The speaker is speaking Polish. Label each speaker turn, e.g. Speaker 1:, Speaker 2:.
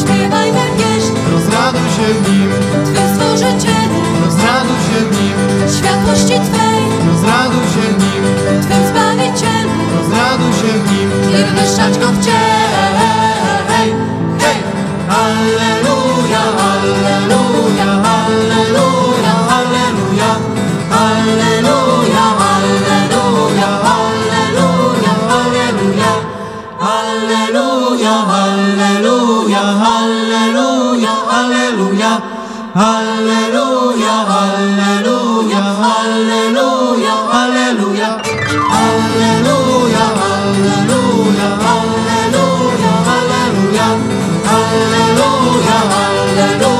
Speaker 1: Śpiewajmy pieśń
Speaker 2: Rozraduj się w nim,
Speaker 1: Twym Stworzycielu,
Speaker 2: rozraduj się w nim,
Speaker 1: światłości Twej,
Speaker 2: rozraduj się w nim,
Speaker 1: Twym Zbawicielu,
Speaker 2: rozraduj się w nim.
Speaker 1: nie wywyższać Go w Cień.
Speaker 2: Hej! Alleluja, alleluja, alleluja, alleluja, alleluja, alleluja, alleluja, alleluja, alleluja, alleluja, alleluja, alleluja, alleluja, alleluja, alleluja, alleluja, alleluja, alleluja, alleluja, alleluja, alleluja, alleluja.